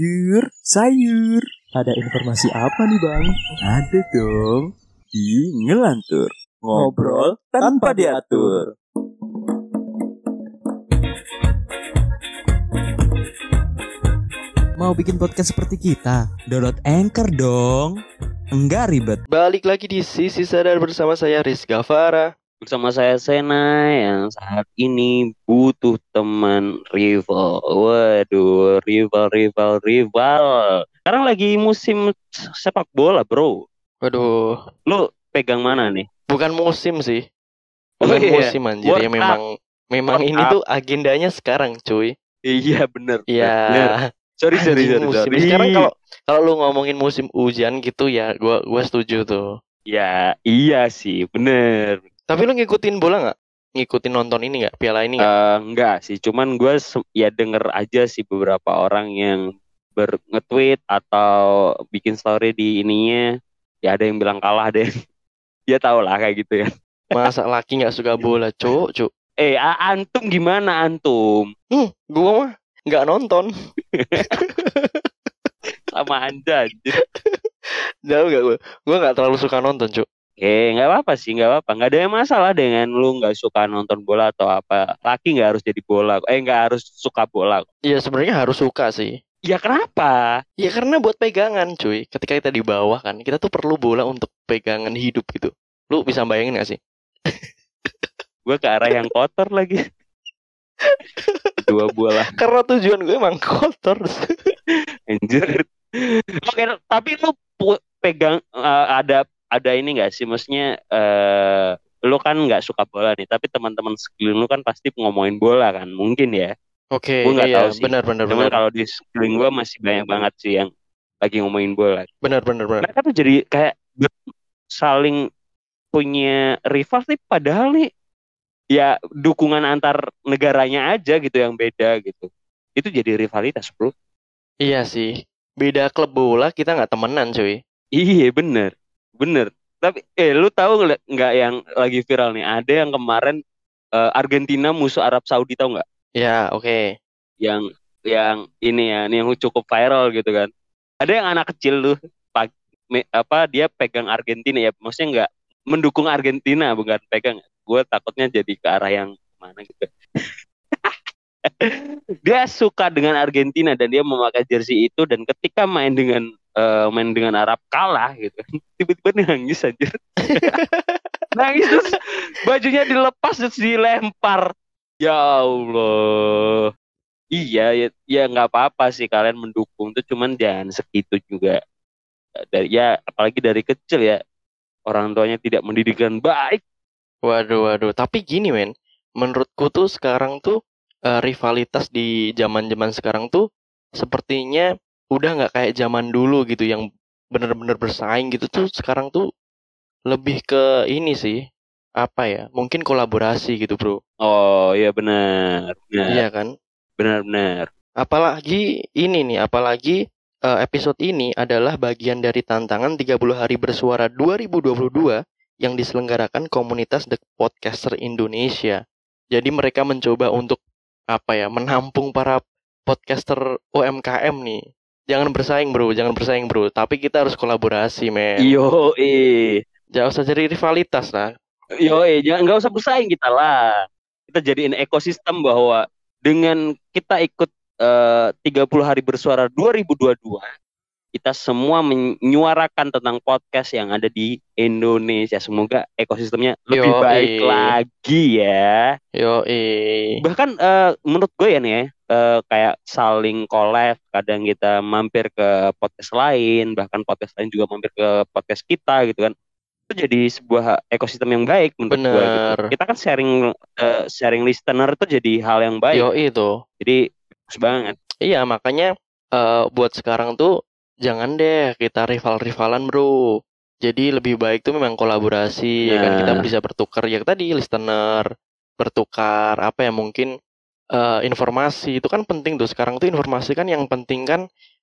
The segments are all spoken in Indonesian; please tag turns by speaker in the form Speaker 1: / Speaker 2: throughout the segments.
Speaker 1: Yur, sayur. Ada informasi apa nih bang?
Speaker 2: Ada dong di Ngelantur Ngobrol tanpa diatur
Speaker 3: Mau bikin podcast seperti kita? Download Anchor dong. Enggak ribet.
Speaker 4: Balik lagi di Sisi Sadar bersama saya Rizka Farah.
Speaker 5: bersama saya Sena yang saat ini butuh teman rival. Waduh, rival, rival, rival. Sekarang lagi musim sepak bola, bro.
Speaker 4: Waduh,
Speaker 5: Lu pegang mana nih?
Speaker 4: bukan musim sih.
Speaker 5: Oh,
Speaker 4: Bukan
Speaker 5: iya.
Speaker 4: musim anjir
Speaker 5: World
Speaker 4: ya memang memang
Speaker 5: World
Speaker 4: ini
Speaker 5: Cup.
Speaker 4: tuh agendanya sekarang cuy.
Speaker 5: Iya, bener. bener.
Speaker 4: Iya.
Speaker 5: Sorry, sorry,
Speaker 4: anjing
Speaker 5: sorry,
Speaker 4: musim.
Speaker 5: sorry.
Speaker 4: Sekarang kalau kalau lu ngomongin musim hujan gitu ya gua gua setuju tuh.
Speaker 5: Ya, iya sih, bener.
Speaker 4: Tapi lu ngikutin bola nggak? Ngikutin nonton ini nggak? Piala ini nggak?
Speaker 5: Eh, enggak sih, cuman gue ya denger aja sih beberapa orang yang ber nge-tweet atau bikin story di ininya. Ya ada yang bilang kalah deh. Ya tau lah kayak gitu ya.
Speaker 4: Masa laki nggak
Speaker 5: Iya.
Speaker 4: suka bola, cuk, cuk.
Speaker 5: Eh, a- antum gimana antum?
Speaker 4: Hmm, gua mah nggak nonton.
Speaker 5: Sama anda. anjir.
Speaker 4: Jauh nggak gua. Gua nggak terlalu suka nonton, cuk.
Speaker 5: Eh, nggak apa-apa sih, nggak apa-apa. Nggak ada yang masalah dengan lu nggak suka nonton bola atau apa. Laki nggak harus jadi bola. Eh, nggak harus suka bola.
Speaker 4: Iya, sebenarnya harus suka sih.
Speaker 5: Ya kenapa?
Speaker 4: Ya karena buat pegangan cuy Ketika kita di bawah kan Kita tuh perlu bola untuk pegangan hidup gitu Lu bisa bayangin gak sih?
Speaker 5: Gue ke arah yang kotor lagi. Dua bola,
Speaker 4: Karena tujuan gue emang kotor
Speaker 5: anjir. Oke, tapi lu pu- pegang eh, ada ada ini nggak sih? Maksudnya eh lu kan nggak suka bola nih, tapi teman-teman sekeliling lu kan pasti ngomongin bola kan? Mungkin ya.
Speaker 4: Oke
Speaker 5: Gue nggak
Speaker 4: iya
Speaker 5: tahu sih.
Speaker 4: benar benar
Speaker 5: Cuman
Speaker 4: benar
Speaker 5: kalau di sekeliling gue masih banyak banget sih yang lagi ngomongin bola.
Speaker 4: benar benar benar
Speaker 5: Mereka tuh jadi kayak ber- saling punya rival nih padahal nih ya dukungan antar negaranya aja gitu yang beda gitu. Itu jadi rivalitas, Bro.
Speaker 4: Iya sih Beda klub bola kita nggak temenan cuy
Speaker 5: Iya, bener. Bener. Tapi eh lu tahu ngel- nggak yang lagi viral nih? Ada yang kemarin eh, Argentina musuh Arab Saudi tahu nggak?
Speaker 4: Ya oke
Speaker 5: Yang yang ini ya, ini yang cukup viral gitu kan. Ada yang anak kecil tuh pak- me- apa dia pegang Argentina ya maksudnya nggak mendukung Argentina bukan pegang gue takutnya jadi ke arah yang mana gitu dia suka dengan Argentina dan dia memakai jersey itu dan ketika main dengan eh, main dengan Arab kalah gitu tiba-tiba dia nangis aja nangis terus bajunya dilepas terus dilempar ya Allah iya ya- ya nggak apa-apa sih kalian mendukung tuh cuman jangan segitu juga dari ya apalagi dari kecil ya orang tuanya tidak mendidikkan baik
Speaker 4: Waduh waduh Tapi gini men Menurutku tuh sekarang tuh eh, Rivalitas di zaman zaman sekarang tuh Sepertinya Udah nggak kayak zaman dulu gitu Yang bener-bener bersaing gitu tuh Sekarang tuh Lebih ke ini sih Apa ya Mungkin kolaborasi gitu bro
Speaker 5: oh iya benar benar
Speaker 4: Iya kan
Speaker 5: benar benar
Speaker 4: Apalagi ini nih, apalagi eh, episode ini adalah bagian dari tantangan 30 hari bersuara 2022 yang diselenggarakan komunitas The Podcaster Indonesia. Jadi mereka mencoba untuk apa ya, menampung para podcaster UMKM nih. Jangan bersaing, Bro. Jangan bersaing, Bro. Tapi kita harus kolaborasi, men.
Speaker 5: Yo, eh.
Speaker 4: Jangan usah jadi rivalitas lah.
Speaker 5: Yo, eh. jangan nggak usah bersaing kita lah. Kita jadiin ekosistem bahwa dengan kita ikut eh, 30 hari bersuara 2022, kita semua menyuarakan tentang podcast yang ada di Indonesia. Semoga ekosistemnya lebih
Speaker 4: Yo,
Speaker 5: baik
Speaker 4: eh.
Speaker 5: lagi ya.
Speaker 4: Yo, eh.
Speaker 5: Bahkan eh, menurut gue ya nih ya, eh, kayak saling collab, kadang kita mampir ke podcast lain, bahkan podcast lain juga mampir ke podcast kita gitu kan. Itu jadi sebuah ekosistem yang baik menurut gue. gitu.
Speaker 4: Bener.
Speaker 5: Kita kan sharing eh, sharing listener itu jadi hal yang baik.
Speaker 4: Yo, itu.
Speaker 5: Jadi bagus banget.
Speaker 4: Iya, makanya eh, buat sekarang tuh jangan deh kita rival-rivalan, Bro. Jadi lebih baik tuh memang kolaborasi, ya kan kita
Speaker 5: Nah.
Speaker 4: bisa bertukar ya tadi listener, bertukar apa ya mungkin eh, informasi itu kan penting tuh sekarang tuh informasi kan yang penting kan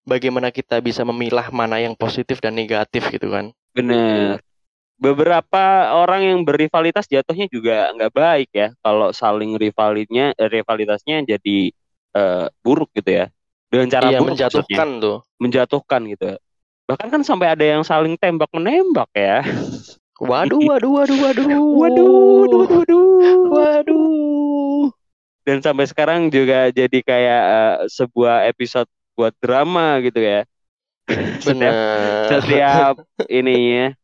Speaker 4: bagaimana kita bisa memilah mana yang positif dan negatif gitu kan.
Speaker 5: Bener. Beberapa orang yang berrivalitas jatuhnya juga nggak baik ya. Kalau saling rivalinya eh, rivalitasnya jadi eh, buruk gitu ya. dengan cara
Speaker 4: iya,
Speaker 5: buruk maksudnya.
Speaker 4: menjatuhkan tuh.
Speaker 5: menjatuhkan gitu bahkan kan sampai ada yang saling tembak menembak ya
Speaker 4: Waduh, waduh, waduh, waduh.
Speaker 5: waduh
Speaker 4: Waduh.
Speaker 5: dan sampai sekarang juga jadi kayak eh, sebuah episode buat drama gitu ya setiap
Speaker 4: Benar.
Speaker 5: setiap ininya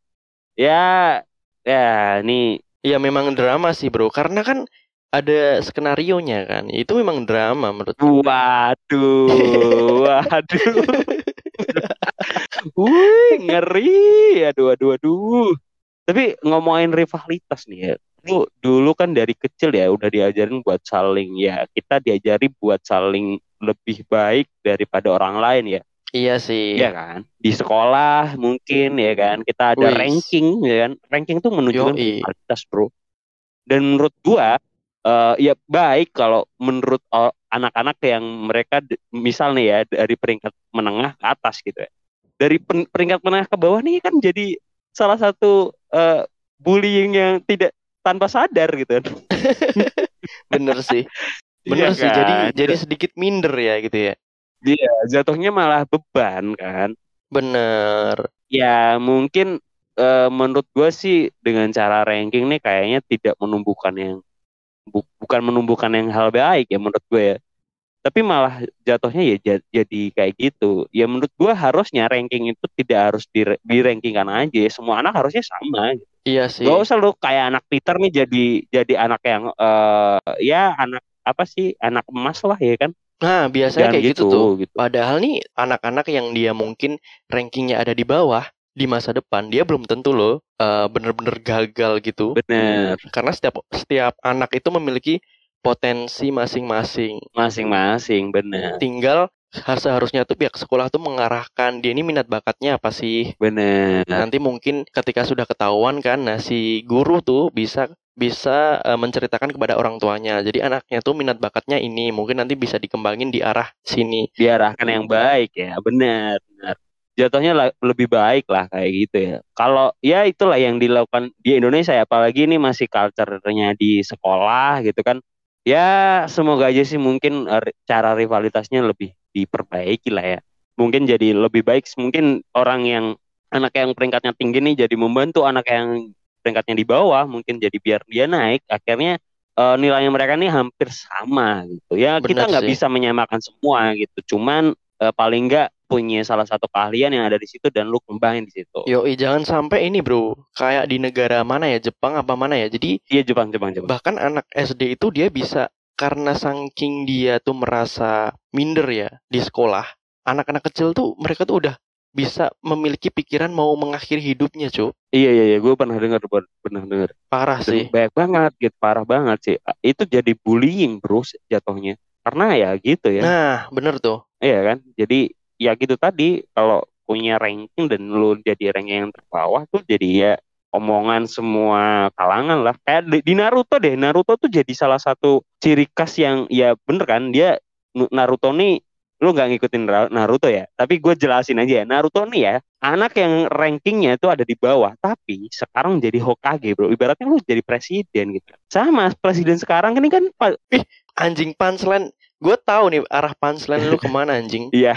Speaker 5: ya ya nih
Speaker 4: Ya memang drama sih, Bro. Karena kan ada skenario-nya kan. Itu memang drama menurut
Speaker 5: waduh waduh Wih, ngeri aduh aduh aduh tapi ngomongin rivalitas nih ya lu dulu kan dari kecil ya udah diajarin buat saling ya kita diajari buat saling lebih baik daripada orang lain ya
Speaker 4: Iya sih.
Speaker 5: Iya kan? Di sekolah mungkin ya kan kita ada
Speaker 4: Wis.
Speaker 5: ranking ya kan. Ranking tuh menunjukkan
Speaker 4: Yoi.
Speaker 5: kualitas, Bro. Dan menurut gua eh, ya baik kalau menurut o- anak-anak yang mereka d- misal nih ya dari peringkat menengah ke atas gitu ya. Dari pen- peringkat menengah ke bawah nih kan jadi salah satu eh, bullying yang tidak tanpa sadar gitu kan.
Speaker 4: Bener sih. Bener
Speaker 5: Iya
Speaker 4: sih. Jadi
Speaker 5: kan?
Speaker 4: jadi sedikit minder ya gitu ya.
Speaker 5: Iya, jatuhnya malah beban kan.
Speaker 4: Bener.
Speaker 5: Ya mungkin eh, menurut gue sih dengan cara ranking nih kayaknya tidak menumbuhkan yang bu- bukan menumbuhkan yang hal baik ya menurut gue ya. Tapi malah jatuhnya ya ja- jadi kayak gitu. Ya menurut gue harusnya ranking itu tidak harus di, di rankingkan aja. ya. Semua anak harusnya sama. gitu.
Speaker 4: Iya sih.
Speaker 5: Gak usah lu kayak anak Peter nih jadi jadi anak yang eh, ya anak apa sih anak emas lah ya kan.
Speaker 4: Nah, biasanya
Speaker 5: Jangan
Speaker 4: kayak gitu tuh.
Speaker 5: gitu.
Speaker 4: Padahal nih anak-anak yang dia mungkin rankingnya ada di bawah di masa depan dia belum tentu loh eh, bener-bener gagal gitu.
Speaker 5: Bener.
Speaker 4: Karena setiap setiap anak itu memiliki potensi masing-masing.
Speaker 5: Masing-masing bener.
Speaker 4: Tinggal har- seharusnya tuh pihak sekolah tuh mengarahkan dia ini minat bakatnya apa sih.
Speaker 5: Bener.
Speaker 4: Nanti mungkin ketika sudah ketahuan kan, nah si guru tuh bisa bisa eh, menceritakan kepada orang tuanya. Jadi anaknya tuh minat bakatnya ini, mungkin nanti bisa dikembangin di arah sini.
Speaker 5: diarahkan yang baik ya benar benar jatuhnya la- lebih baik lah kayak gitu ya kalau ya itulah yang dilakukan di Indonesia ya. apalagi ini masih culture-nya di sekolah gitu kan ya semoga aja sih mungkin eh, ri- cara rivalitasnya lebih diperbaiki lah ya mungkin jadi lebih baik mungkin orang yang anak yang peringkatnya tinggi nih jadi membantu anak yang peringkatnya di bawah mungkin jadi biar dia naik akhirnya eh, nilainya mereka nih hampir sama gitu ya kita
Speaker 4: Benar
Speaker 5: nggak
Speaker 4: sih.
Speaker 5: bisa menyamakan semua gitu cuman eh, paling nggak punya salah satu keahlian yang ada di situ dan lu kembangin di situ
Speaker 4: Yoi, jangan sampai ini bro, kayak di negara mana ya, Jepang apa mana ya. Jadi
Speaker 5: iya Jepang Jepang Jepang
Speaker 4: bahkan anak SD itu dia bisa karena saking dia tuh merasa minder ya di sekolah. Anak-anak kecil tuh mereka tuh udah bisa memiliki pikiran mau mengakhiri hidupnya, Cuk.
Speaker 5: iya iya iya gue pernah dengar ber- pernah dengar
Speaker 4: Parah
Speaker 5: Dan
Speaker 4: sih.
Speaker 5: banyak banget gitu parah banget sih itu jadi bullying bro jatuhnya karena ya gitu ya
Speaker 4: Nah, bener tuh.
Speaker 5: iya kan jadi ya gitu tadi kalau punya ranking dan lu jadi ranking yang terbawah tuh jadi ya omongan semua kalangan lah kayak di, di Naruto deh Naruto tuh jadi salah satu ciri khas yang ya bener kan dia Nu- Naruto nih lu nggak ngikutin Ra- Naruto ya tapi gue jelasin aja ya Naruto nih ya anak yang rankingnya itu ada di bawah tapi sekarang jadi Hokage bro ibaratnya lu jadi presiden gitu sama presiden sekarang ini kan pa-
Speaker 4: Anjing punchline. Gue tahu nih arah punchline lu kemana anjing.
Speaker 5: Iya.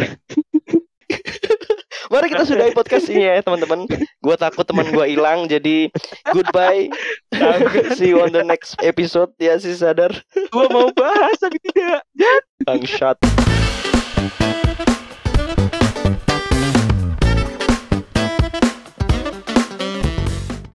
Speaker 4: Mari kita sudahi podcast ini ya teman-teman. Gue takut teman gue hilang jadi goodbye. See you on the next episode ya si sadar.
Speaker 5: gitu ya. gue mau bahas tapi tidak
Speaker 4: Bangshot.